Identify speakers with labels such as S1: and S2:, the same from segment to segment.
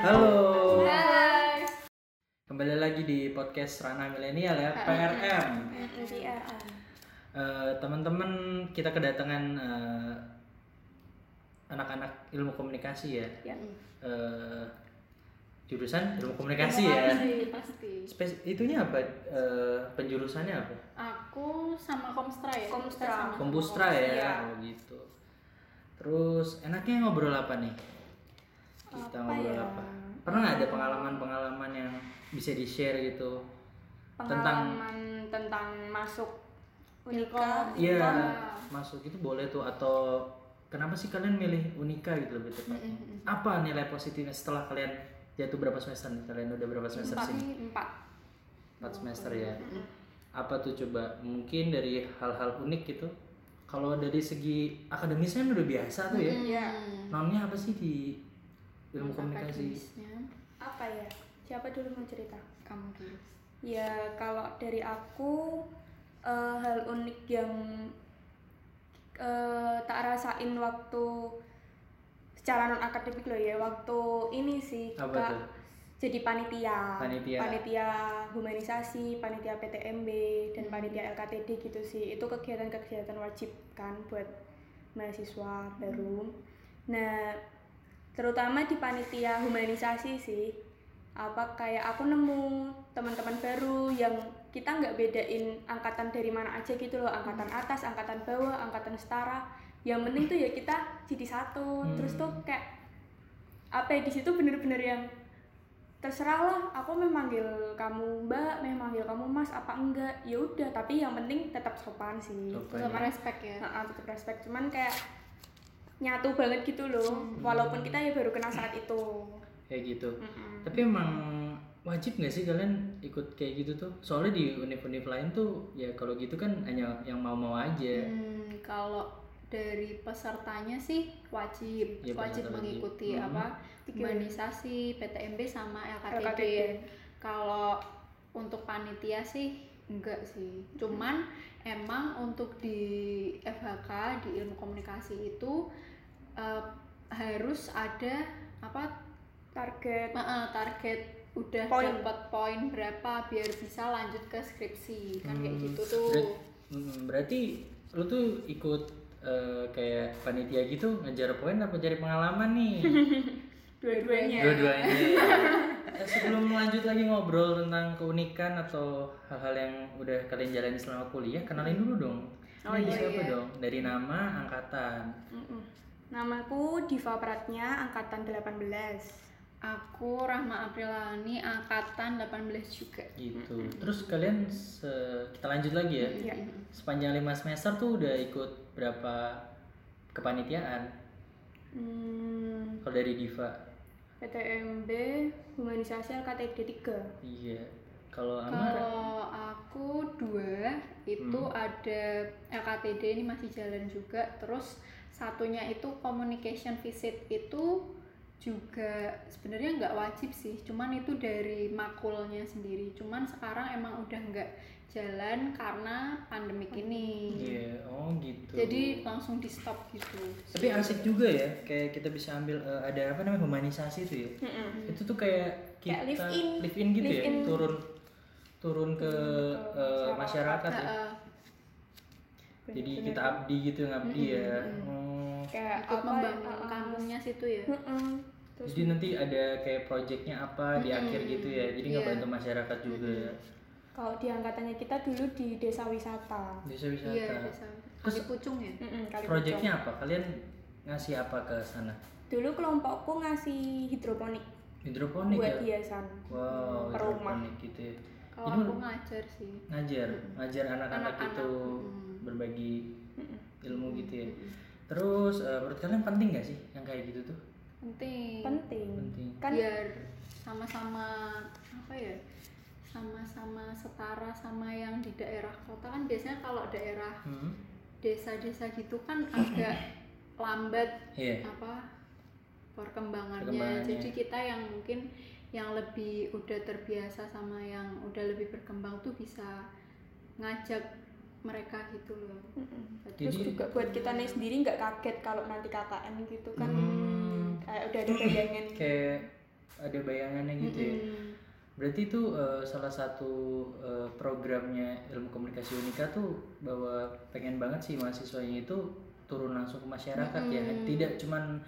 S1: Halo.
S2: Hai.
S1: Kembali lagi di podcast Ranah Milenial ya, PRM. Eh, Teman-teman, kita kedatangan eh, anak-anak ilmu komunikasi ya.
S2: Ya.
S1: Eh, jurusan ilmu komunikasi ya.
S2: Pasti, pasti.
S1: Spes itunya apa? Eh, penjurusannya apa?
S2: Aku sama Komstra ya.
S3: Komstra.
S2: Kita sama
S1: Kompustra
S2: Iya.
S1: ya, oh gitu. Terus enaknya ngobrol apa nih? Kita
S2: Apa
S1: ngobrol
S2: ya?
S1: apa? Pernah nggak ada pengalaman-pengalaman yang bisa di-share gitu? Tentang
S3: pengalaman tentang masuk
S2: Ilkom.
S3: unika
S1: iya,
S2: Ilkom.
S1: masuk itu boleh tuh atau kenapa sih kalian milih Unika gitu lebih tepatnya? Apa nilai positifnya setelah kalian jatuh berapa semester nih? Kalian udah berapa semester
S3: empat
S1: sih?
S3: empat
S1: 4 semester ya. Apa tuh coba mungkin dari hal-hal unik gitu? Kalau dari segi akademisnya udah biasa tuh ya.
S3: Iya.
S1: Namanya apa sih di ilmu komunikasi?
S3: Akademisnya. apa ya siapa dulu mau cerita
S2: Kamu gitu. dulu.
S3: ya kalau dari aku eh, hal unik yang eh, tak rasain waktu secara non akademik loh ya waktu ini sih
S1: Apa
S3: Kak,
S1: tuh?
S3: jadi panitia
S1: Panitia.
S3: humanisasi panitia PTMB dan
S1: Hmm.
S3: panitia LKTD gitu sih itu kegiatan-kegiatan wajib kan buat mahasiswa baru
S1: Hmm.
S3: nah terutama di panitia humanisasi sih apa kayak aku nemu teman-teman baru yang kita nggak bedain angkatan dari mana aja gitu loh angkatan
S1: Hmm.
S3: atas angkatan bawah angkatan setara yang penting tuh ya kita jadi satu
S1: Hmm.
S3: terus tuh kayak apa ya, di situ bener-bener yang terserah lah aku memanggil kamu mbak memanggil kamu mas apa enggak ya udah tapi yang penting tetap sopan sih
S1: Sopan.
S2: Sama respect ya.
S3: Nah, ah, tetap respect cuman kayak nyatu banget gitu loh
S1: Hmm.
S3: walaupun kita ya baru kenal saat itu
S1: Kayak gitu.
S3: Mm-mm.
S1: Tapi emang wajib nggak sih kalian ikut kayak gitu tuh? Soalnya di univ-univ lain tuh ya kalau gitu kan hanya yang mau-mau
S3: Iya.
S1: aja.
S2: Hmm, kalau dari pesertanya sih wajib
S1: Iya,
S2: wajib
S1: peserta wajib.
S2: mengikuti
S1: Mhm.
S2: apa humanisasi PTMB sama LKTD.
S3: LKTD.
S1: ya.
S2: Kalau untuk panitia sih enggak sih. Cuman emang untuk di FHK di ilmu komunikasi itu eh, harus ada apa
S3: target
S2: Ma- eh, target udah
S3: Poin.
S2: dapat poin berapa biar bisa lanjut ke skripsi kan kayak
S1: Hmm,
S2: gitu tuh
S1: berat- hmm, berarti lu tuh ikut eh, kayak panitia gitu ngejar poin apa cari pengalaman nih?
S2: Iya.
S3: dua-duanya
S1: Dua-duanya. Eh, Sebelum lanjut lagi ngobrol tentang keunikan atau hal-hal yang udah kalian jalani selama kuliah, kenalin dulu dong.
S3: Oh,
S1: Ini
S2: iya,
S1: siapa
S2: iya.
S1: dong? Dari nama, angkatan.
S3: Mm-mm. Namaku Diva Pratnya, angkatan 18.
S2: aku Rahma Aprilani angkatan 18 juga
S1: gitu. Terus kalian se- kita lanjut lagi ya.
S3: Iya.
S1: Sepanjang lima semester tuh udah ikut berapa kepanitiaan?
S3: Hmm,
S1: Kalau dari Diva,
S3: PTMB Humanisasi LKTD 3.
S1: iya. Kalau Ama,
S2: kalau aku dua itu
S1: Hmm.
S2: ada LKTD ini masih jalan juga terus satunya itu communication visit itu juga sebenarnya nggak wajib sih cuman itu dari makulnya sendiri cuman sekarang emang udah nggak jalan karena pandemik ini
S1: iya. Oh gitu.
S2: jadi langsung di stop gitu
S1: tapi asik juga ya. Kayak kita bisa ambil eh, ada apa namanya humanisasi itu ya. Itu tuh kayak kita
S3: Kayak live-in.
S1: live-in gitu ya,
S3: Live-in.
S1: turun turun ke eh, masyarakat ya.
S2: Heeh.
S1: Jadi kita abdi gitu ngabdi ya. Oh.
S3: kayak
S2: ikut
S3: Ya, apa,
S2: membangun
S3: uh-uh.
S2: kampungnya situ ya
S3: Mm-mm. Terus
S1: Jadi nanti ada kayak proyeknya apa di akhir gitu ya. Jadi nggak
S2: Iya.
S1: bantu masyarakat juga ya.
S3: kalau di angkatannya kita dulu di desa wisata.
S1: Desa wisata.
S2: iya desa
S1: Terus-
S2: Kali pucung ya
S3: Mm-mm, Kali
S1: Proyeknya Nah, apa? Kalian ngasih apa ke sana?
S3: Pucung. Dulu kelompokku ngasih hidroponik
S1: Hidroponik
S3: buat
S1: ya.
S3: hiasan.
S1: Wow,
S3: Perumah.
S1: hidroponik gitu ya.
S2: kalau
S1: Jadi
S2: aku
S1: lu
S2: ngajar sih
S1: ngajar, ngajar anak-anak
S2: Anak-anak,
S1: itu
S2: mm.
S1: berbagi ilmu gitu ya. Terus eh, menurut kalian penting nggak sih yang kayak gitu tuh?
S2: penting
S3: Penting.
S1: Penting.
S3: Kan
S2: biar sama-sama apa ya sama-sama setara sama yang di daerah kota kan biasanya kalau daerah
S1: Hmm.
S2: desa-desa gitu kan agak lambat
S1: Iya.
S2: apa perkembangannya.
S1: Perkembangannya.
S2: jadi kita yang mungkin yang lebih udah terbiasa sama yang udah lebih berkembang tuh bisa ngajak mereka gitu loh
S3: Mm-mm.
S2: buat
S3: terus
S1: Jadi-
S3: juga buat kita nih sendiri nggak kaget kalau nanti KKN gitu kan
S1: Hmm.
S3: kayak udah ada bayangan
S1: kayak ada bayangannya gitu ya
S3: Mm-mm.
S1: Berarti itu eh, salah satu eh, programnya ilmu komunikasi Unika tuh bahwa pengen banget sih mahasiswanya itu turun langsung ke masyarakat ya,
S3: Mm-mm.
S1: tidak cuman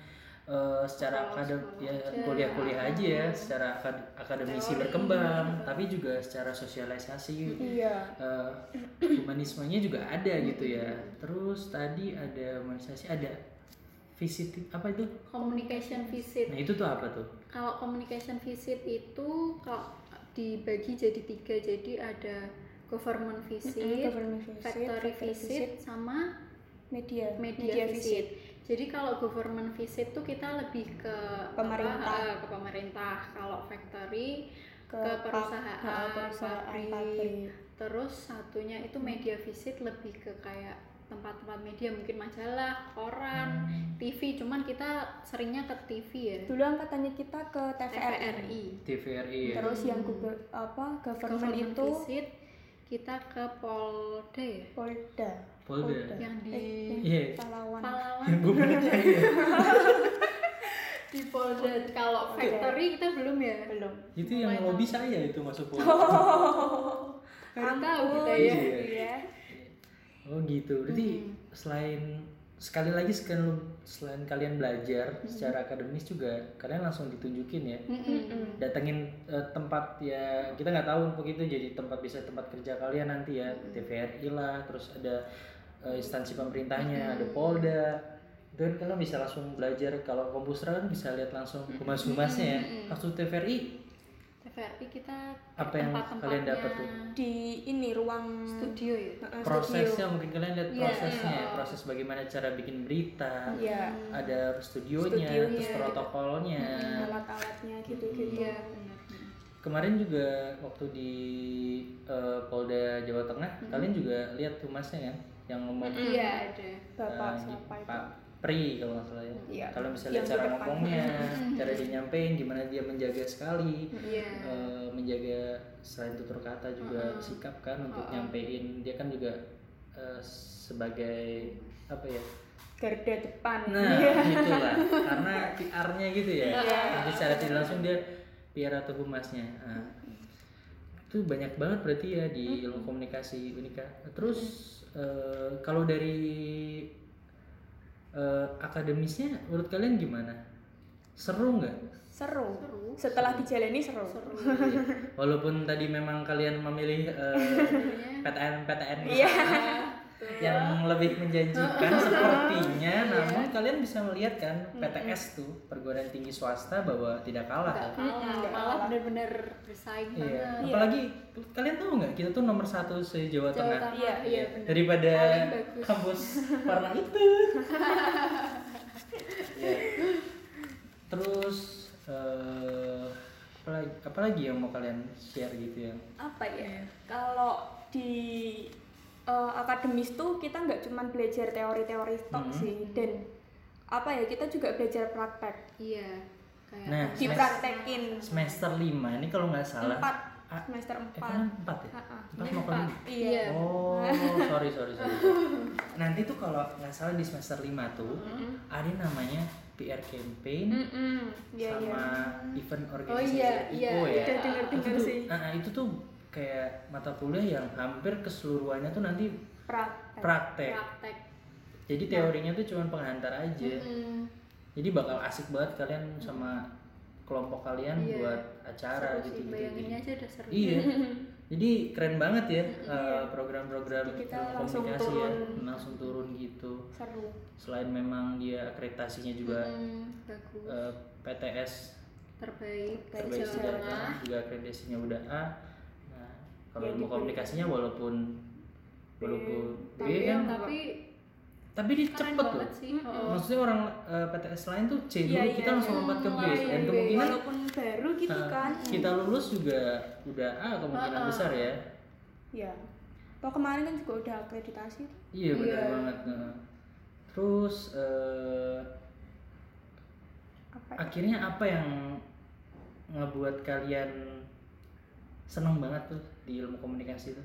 S1: eh, secara
S2: Sekolah-sekolah
S1: akadem ya
S2: aja.
S1: kuliah-kuliah aja ya, secara akad- akademisi
S2: Teori.
S1: berkembang, tapi juga secara sosialisasi
S3: iya
S1: eh, humanismenya juga ada gitu ya. Terus tadi ada humanisasi ada visit apa itu?
S2: communication visit
S1: Nah itu tuh apa tuh?
S2: kalau communication visit itu kalau dibagi jadi tiga jadi ada government visit
S3: Mm-mm, government visit,
S2: factory
S3: factory
S2: visit sama
S3: media
S2: media visit. Jadi kalau government visit tuh kita lebih ke apa,
S3: Pemerintah.
S2: eh, ke pemerintah. Kalau factory
S3: ke,
S2: ke
S3: pa-
S2: perusahaan,
S3: nah, perusahaan
S2: pabrik.
S3: pabrik.
S2: Terus satunya itu media visit lebih ke kayak tempat-tempat media mungkin majalah, koran,
S3: Hmm.
S2: TV. Cuman kita seringnya ke TV ya.
S3: dulu angkatannya kita ke TVRI
S2: TVRI.
S1: TVRI ya.
S3: terus yang
S2: Hmm.
S3: guber, apa government,
S2: Government
S3: itu
S2: visit kita ke Polda ya.
S3: Polda
S1: Polda.
S2: Yang di
S3: Eh,
S1: Iya.
S3: Pahlawan
S2: Pahlawan
S1: Yang gue belum nyanyi ya.
S2: di Polda. Kalau factory kita belum ya.
S3: belum
S1: itu yang
S2: Mulai
S1: lobby saya itu masuk pol
S2: Baru tahu kita
S1: Iya.
S2: ya.
S3: iya
S1: oh gitu berarti selain sekali lagi selain selain kalian belajar secara akademis juga kalian langsung ditunjukin ya
S2: Mm-mm.
S1: datengin eh, tempat ya kita nggak tahu begitu jadi tempat bisa tempat kerja kalian nanti ya TVRI lah terus ada eh, instansi pemerintahnya ada Polda dan kalian bisa langsung belajar kalau kompusra kan bisa lihat langsung humas-humasnya ya waktu TVRI
S2: TVRI kita
S1: Apa yang kalian dapat tuh?
S3: di ini ruang eh,
S2: Studio ya.
S3: Heeh,
S1: prosesnya mungkin kalian lihat
S2: Iya,
S1: prosesnya
S2: iya.
S1: ya, proses bagaimana cara bikin berita
S3: studio. iya
S1: ada studionya,
S3: Studionya,
S1: terus
S3: gitu. Hmm.
S1: protokolnya
S3: alat-alatnya gitu-gitu
S2: Iya benar.
S1: kemarin juga waktu di eh, Polda Jawa Tengah
S3: Hmm.
S1: kalian juga lihat humasnya kan yang ngomong
S2: Iya ada.
S3: bapak
S1: eh,
S3: Hmm, siapa itu
S1: Pak Pri kalau nggak salah ya
S3: Iya.
S1: kalian bisa
S3: Yang
S1: lihat
S3: di
S1: cara
S3: depan. Hmm.
S1: ngomongnya cara dia nyampein gimana dia menjaga sekali
S2: Iya.
S1: eh, menjaga selain tutur kata juga
S3: Hmm.
S1: sikap kan untuk nyampein dia kan juga eh, sebagai apa ya
S3: garda depan ya. Iya.
S1: Nah, itulah karena PR-nya gitu ya. Jadi secara tidak langsung dia PR atau humasnya. Nah, itu banyak banget berarti ya di ilmu komunikasi Unika. Terus eh, kalau dari eh, akademisnya menurut kalian gimana? Seru nggak?
S3: seru
S2: Seru.
S3: setelah dijalani seru,
S1: Iya. Walaupun tadi memang kalian memilih eh, PTN PTN
S3: Iya.
S1: yang lebih menjanjikan sepertinya namun kalian bisa melihat kan PTS tuh perguruan tinggi swasta bahwa tidak kalah kan?
S2: Nggak kalah,
S3: nggak
S2: malah
S3: kalah.
S2: benar-benar bersaing
S1: Iya.
S2: banget.
S1: Apalagi kalian tahu nggak kita tuh nomor satu se Jawa
S2: Jawa
S1: Tengah
S2: Tengah, iya benar.
S1: daripada
S2: Paling bagus.
S1: kampus warna itu. Iya. Terus eh, apalagi, apalagi yang mau kalian share gitu ya?
S3: apa ya kalau di eh, akademis tuh kita nggak cuman belajar teori-teori tok
S1: Hmm.
S3: sih dan apa ya kita juga belajar praktek
S2: Iya. Kayak
S1: Nah,
S3: dipraktekin
S1: Semester 5 ini kalau nggak salah.
S3: empat
S1: Ah,
S3: semester
S1: Eh,
S3: empat
S1: kan empat ya?
S3: Ha-ha.
S1: Empat mau
S2: Pak,
S1: kalian?
S2: Iya.
S1: Oh, sorry sorry sorry. Nanti tuh kalau nggak salah di semester 5 tuh ada namanya PR campaign
S3: Mm-mm. Iya, iya.
S1: sama event
S2: Oh
S1: organisasi
S2: iya,
S1: IO ya.
S2: iya.
S3: Udah denger-denger
S1: itu, tuh,
S3: sih.
S1: ah, ah, itu tuh kayak mata kuliah yang hampir keseluruhannya tuh nanti
S3: praktek
S1: praktek.
S2: Praktek.
S1: Jadi teorinya tuh cuma penghantar aja.
S2: Mm.
S1: Jadi bakal asik banget kalian sama kelompok kalian
S2: Iya.
S1: buat acara
S2: Seru sih,
S1: gitu-gitu.
S2: bayanginnya aja udah seru.
S1: Iya. Jadi keren banget ya eh, program-program
S3: Jadi kita
S1: ilmu
S3: langsung
S1: komunikasi ya,
S3: turun.
S1: langsung turun gitu.
S3: seru
S1: Selain memang dia akreditasinya juga
S2: Mm, bagus.
S1: eh, PTS
S2: terbaik Iya,
S1: terbaik
S2: Jawa
S1: sudah A,
S2: Tengah.
S1: juga akreditasinya udah A. Nah, kalau
S3: Ya,
S1: ilmu
S3: diberi.
S1: komunikasinya walaupun walaupun B
S2: Tapi,
S1: kan,
S2: tapi
S1: tapi dia
S2: keren
S1: cepet loh.
S2: banget sih. Oh, heeh.
S1: Maksudnya orang eh, PTS lain tuh C dulu,
S3: Iya,
S1: kita
S3: iya,
S1: langsung lompat ke B dan
S2: mulai B.
S1: kemungkinan
S3: walaupun baru gitu
S1: eh,
S3: kan
S1: kita lulus juga udah A kemungkinan
S2: Ah, ah.
S1: besar ya.
S3: ya toh kemarin kan juga udah akreditasi tuh.
S1: Iya benar
S2: Iya.
S1: banget. Nah, Terus eh,
S3: apa ya?
S1: akhirnya apa yang ngebuat kalian seneng banget tuh di ilmu komunikasi itu?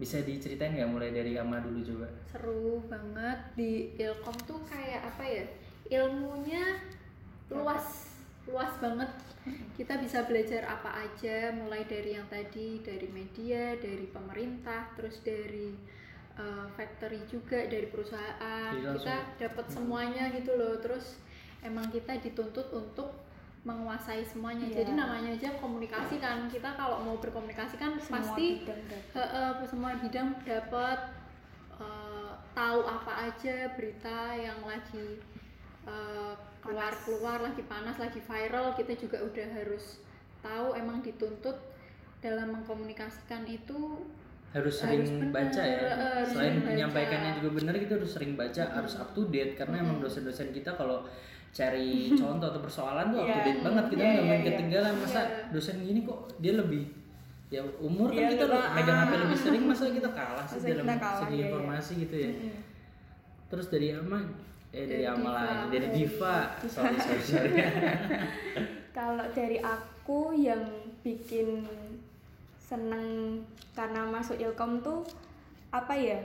S1: bisa diceritain nggak mulai dari Ama dulu coba
S2: seru banget di ilkom tuh kayak apa ya ilmunya luas luas banget kita bisa belajar apa aja mulai dari yang tadi dari media dari pemerintah terus dari eh, factory juga dari perusahaan
S1: Jadi langsung-
S2: kita dapat semuanya gitu loh terus emang kita dituntut untuk menguasai semuanya
S3: Iya.
S2: jadi namanya aja komunikasi kan kita kalau mau berkomunikasi kan pasti Heeh, semua bidang dapat eh, tahu apa aja berita yang lagi eh, keluar-keluar, lagi panas, lagi viral, kita juga udah harus tahu emang dituntut dalam mengkomunikasikan itu
S1: harus sering
S2: bener,
S1: baca ya
S2: eh,
S1: selain
S2: harus sering baca.
S1: menyampaikannya juga benar kita harus sering baca harus up to date karena emang dosen-dosen kita kalau cari contoh atau persoalan tuh up to
S3: Iya.
S1: date banget kita
S3: Iya,
S1: nggak main
S3: iya, iya.
S1: ketinggalan masa
S2: Iya.
S1: dosen gini kok dia lebih ya umur kan
S3: Iya,
S1: kita udah
S3: lebih-
S1: megang
S3: ah.
S1: HP lebih sering masa kita kalah sih
S3: Masa
S1: dalam
S3: kita kalah,
S1: segi
S3: iya, iya.
S1: informasi gitu ya terus dari Ama eh dari
S2: Dari
S1: Ama
S2: Diva.
S1: lagi dari
S3: Dari-
S1: Diva sorry sorry sorry
S3: Kalau dari aku yang bikin seneng karena masuk ilkom tuh apa ya?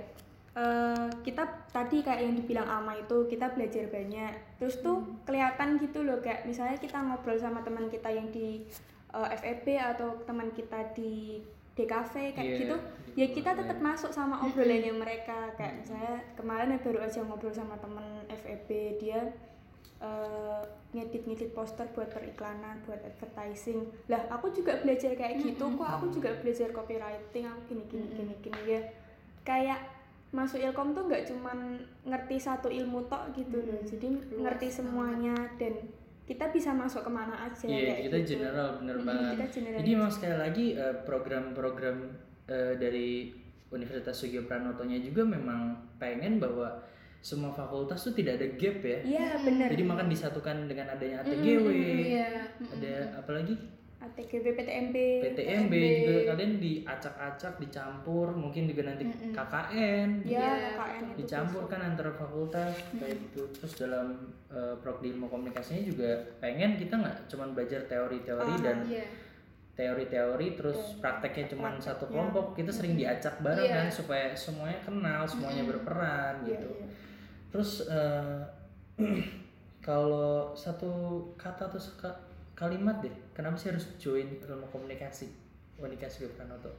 S3: Eh, kita tadi kayak yang dibilang ama itu kita belajar banyak. Terus tuh kelihatan gitu loh kayak misalnya kita ngobrol sama teman kita yang di eh, FEB atau teman kita di DKV kayak
S1: Iya,
S3: gitu
S1: di
S3: ya kita
S1: kelas
S3: tetap
S1: lain.
S3: masuk sama obrolannya mereka kayak misalnya kemarin baru aja ngobrol sama temen FEB dia eh, ngedit-ngedit poster buat periklanan, buat advertising. Lah, aku juga belajar kayak gitu kok. Aku juga belajar copywriting, aku gini gini gini gini ya. Kayak masuk ilkom tuh nggak cuman ngerti satu ilmu tok gitu loh. Jadi ngerti semuanya dan kita bisa masuk kemana aja
S1: Iya
S3: kayak
S1: kita
S3: gitu.
S1: general bener
S3: Mm,
S1: banget.
S3: kita general.
S1: Jadi memang sekali lagi eh, program-program eh, dari Universitas Sugio Pranotonya juga memang pengen bahwa semua fakultas tuh tidak ada gap ya.
S3: Iya, bener.
S1: Jadi makan disatukan dengan adanya ATGW,
S2: iya
S1: ada apalagi
S3: ATGB PTMB.
S1: PTMB juga kan? kalian diacak-acak, dicampur, mungkin juga nanti KKN
S3: Ya,
S2: Iya,
S3: KKN itu
S1: dicampurkan antara fakultas kayak gitu. Terus dalam eh, prodi ilmu komunikasinya juga pengen kita nggak cuman belajar teori-teori dan
S2: iya
S1: teori-teori
S3: Iya.
S1: terus prakteknya cuma satu kelompok kita sering diacak bareng kan supaya semuanya kenal semuanya berperan
S3: Iya.
S1: gitu terus eh, kalau satu kata atau seka- kalimat deh kenapa sih harus join ilmu komunikasi Oh, komunikasi Gue Pranoto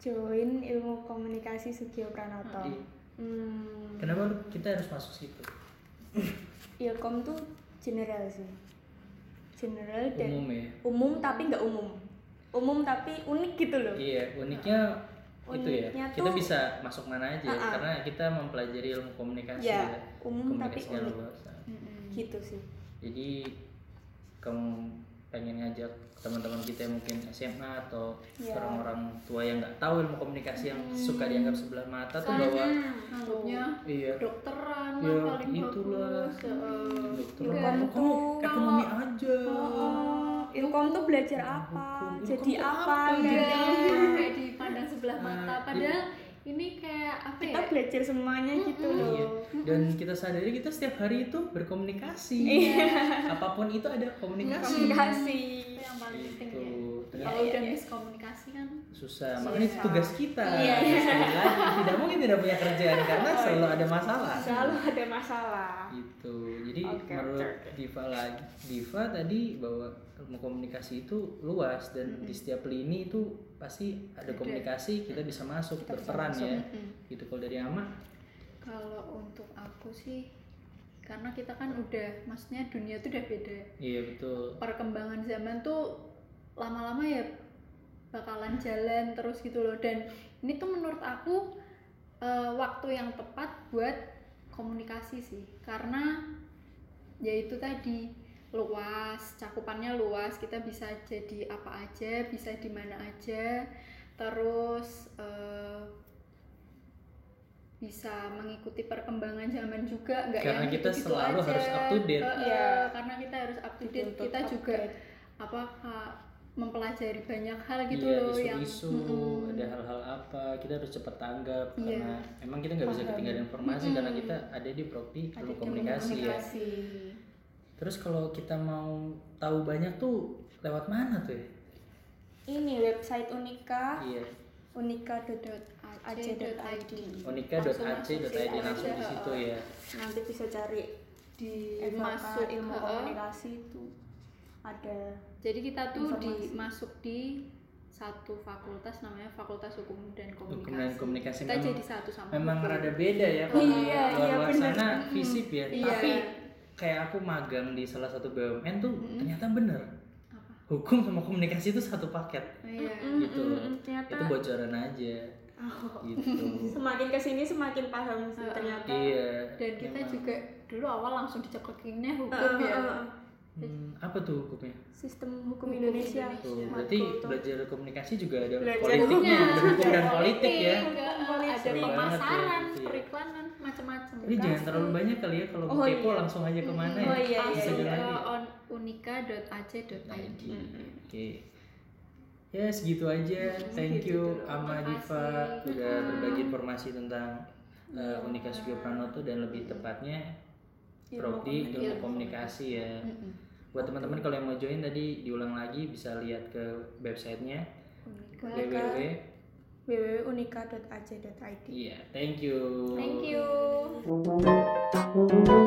S3: join ilmu komunikasi Sugio Pranoto.
S1: Jadi, Iya.
S3: Hmm,
S1: kenapa lu- kita harus masuk situ
S3: Ilkom tuh general sih. General dan
S1: umum ya
S3: umum tapi nggak umum. Umum tapi unik gitu loh.
S1: iya uniknya itu ya
S3: Uniknya
S1: kita
S3: tuh-
S1: bisa masuk mana aja ya,
S3: Ah-ah.
S1: karena kita mempelajari ilmu komunikasi
S3: Ya,
S1: ya.
S3: umum tapi
S1: Komunikasinya
S3: unik.
S1: luas. Nah,
S3: Gitu sih.
S1: jadi kamu pengen ngajak teman-teman kita yang mungkin SMA atau
S3: Iya. Hmm.
S1: orang-orang tua yang nggak tahu ilmu komunikasi yang suka dianggap sebelah mata tuh bahwa
S3: kan
S2: Hmm. anggapnya
S1: iya
S2: dokteran lah
S1: ya
S2: paling
S1: itulah
S2: bagus heeh.
S1: dokter
S3: Iya.
S1: kamu
S3: Kamu
S1: kamu
S3: tuh-
S1: ekonomi aja
S3: Oh, Ilkom tuh belajar apa?
S1: Ya Ilkom
S3: Jadi
S1: tuh
S3: apa? Ya,
S2: Iya,
S3: Jadi
S2: kayak dipandang sebelah
S1: Nah,
S2: mata padahal ini kayak apa
S3: kita
S2: ya
S3: belajar semuanya gitu
S1: Iya.
S3: loh.
S1: dan kita sadari kita setiap hari itu berkomunikasi apapun itu ada komunikasi
S3: Iya. Komunikasi.
S1: Iya,
S2: itu yang paling penting ya
S1: gitu Ternyata
S3: Iya.
S2: kalau udah miskomunikasi kan
S1: susah makanya itu tugas kita
S3: Iya.
S1: sekali lagi tidak mungkin tidak punya kerjaan karena selalu ada masalah
S3: Oh, Selalu ada masalah.
S1: gitu jadi
S3: Oke,
S1: menurut
S3: oke, oke.
S1: Diva lagi Diva tadi bahwa ilmu komunikasi itu luas dan di setiap lini itu pasti ada komunikasi kita bisa masuk berperan ya gitu kalau dari Ama
S2: kalau untuk aku sih karena kita kan udah maksudnya dunia tuh udah beda
S1: iya betul
S2: perkembangan zaman tuh lama-lama ya bakalan jalan terus gitu loh dan ini tuh menurut aku eh, waktu yang tepat buat komunikasi sih karena yaitu tadi luas cakupannya luas kita bisa jadi apa aja bisa di mana aja terus eh, bisa mengikuti perkembangan zaman juga nggak
S1: Karena
S2: yang
S1: kita
S2: gitu-gitu
S1: selalu
S2: aja.
S1: harus up to date.
S2: Eh, eh,
S3: Iya.
S2: karena kita harus up to date
S3: Dituntut
S2: kita juga
S3: update.
S2: apa Kak, mempelajari banyak hal gitu
S1: iya
S2: loh yang
S1: isu-isu
S2: Mm-mm.
S1: ada hal-hal apa kita harus cepat tanggap
S2: Iya.
S1: karena emang kita nggak bisa ketinggalan informasi karena kita ada di prodi ilmu komunikasi ya terus kalau kita mau tahu banyak tuh lewat mana tuh ya
S3: Ini website Unika.
S1: iya
S2: unika.ac.id.
S1: unika.ac.id langsung di
S3: aja,
S1: situ
S3: eh,
S1: ya
S3: nanti bisa cari di
S2: Masuk,
S3: masuk ilmu
S2: heeh.
S3: komunikasi itu ada
S2: Jadi kita tuh
S3: Informasi.
S2: di, masuk di satu fakultas namanya Fakultas Hukum dan Komunikasi.
S1: Hukum dan Komunikasi
S2: Kita
S1: memang-
S2: jadi satu sama.
S1: memang
S2: lain.
S1: rada beda ya kalau
S3: Iya,
S1: luar
S3: iya,
S1: luar
S3: bener.
S1: sana
S3: Mm-mm.
S1: fisip ya
S3: Iya.
S1: tapi kayak aku magang di salah satu BUMN tuh
S3: Hmm.
S2: Mm-mm.
S1: ternyata bener
S2: Apa?
S1: hukum sama komunikasi itu satu paket
S2: Iya.
S3: Mm,
S1: gitu.
S3: mm, mm, ternyata
S1: itu bocoran aja
S3: Oh.
S1: gitu
S3: semakin kesini semakin paham sih
S2: Heeh.
S3: ternyata
S1: iya
S2: Dan kita
S1: memang.
S2: juga dulu awal langsung dicekokinnya hukum
S3: Heeh,
S2: ya.
S3: heeh, heeh.
S1: Hmm, apa tuh hukumnya
S3: sistem hukum
S2: Hukum
S3: Indonesia
S2: Indonesia.
S1: Tuh,
S3: Matkul
S1: berarti
S3: tuh.
S1: belajar komunikasi juga ada
S3: Belajar
S1: politiknya,
S3: hukumnya.
S1: ada hukum dan politik ya.
S2: Iya, Ada
S1: Seru banget
S2: pemasaran,
S1: ya. Iya.
S2: periklanan, macam-macam.
S1: Ini jangan terlalu banyak kali ya kalau mau
S3: Oh,
S1: kepo
S3: iya.
S1: langsung aja kemana ya.
S3: Oh, iya, iya,
S1: Bisa
S2: Langsung
S1: jalan Hmm.
S2: ke
S1: ya.
S2: on unika.ac.id.
S1: Oke. Ya segitu aja.
S2: Hmm,
S1: Thank
S3: gitu
S1: you
S3: dulu.
S1: Ama
S2: Makasih.
S1: Diva udah
S2: Hmm.
S1: berbagi informasi tentang uh, Unika Sugio Pranoto dan lebih tepatnya
S3: Ilmu
S1: Prodi
S3: Iya, komunikasi.
S1: Ilmu Komunikasi ya.
S2: Mm-mm.
S1: Buat teman-teman kalau yang mau join tadi diulang lagi bisa lihat ke websitenya
S2: Unika.
S3: Boleh, Kak.
S1: www.
S3: www.unika.ac.id
S1: Iya, thank you.
S2: Thank you.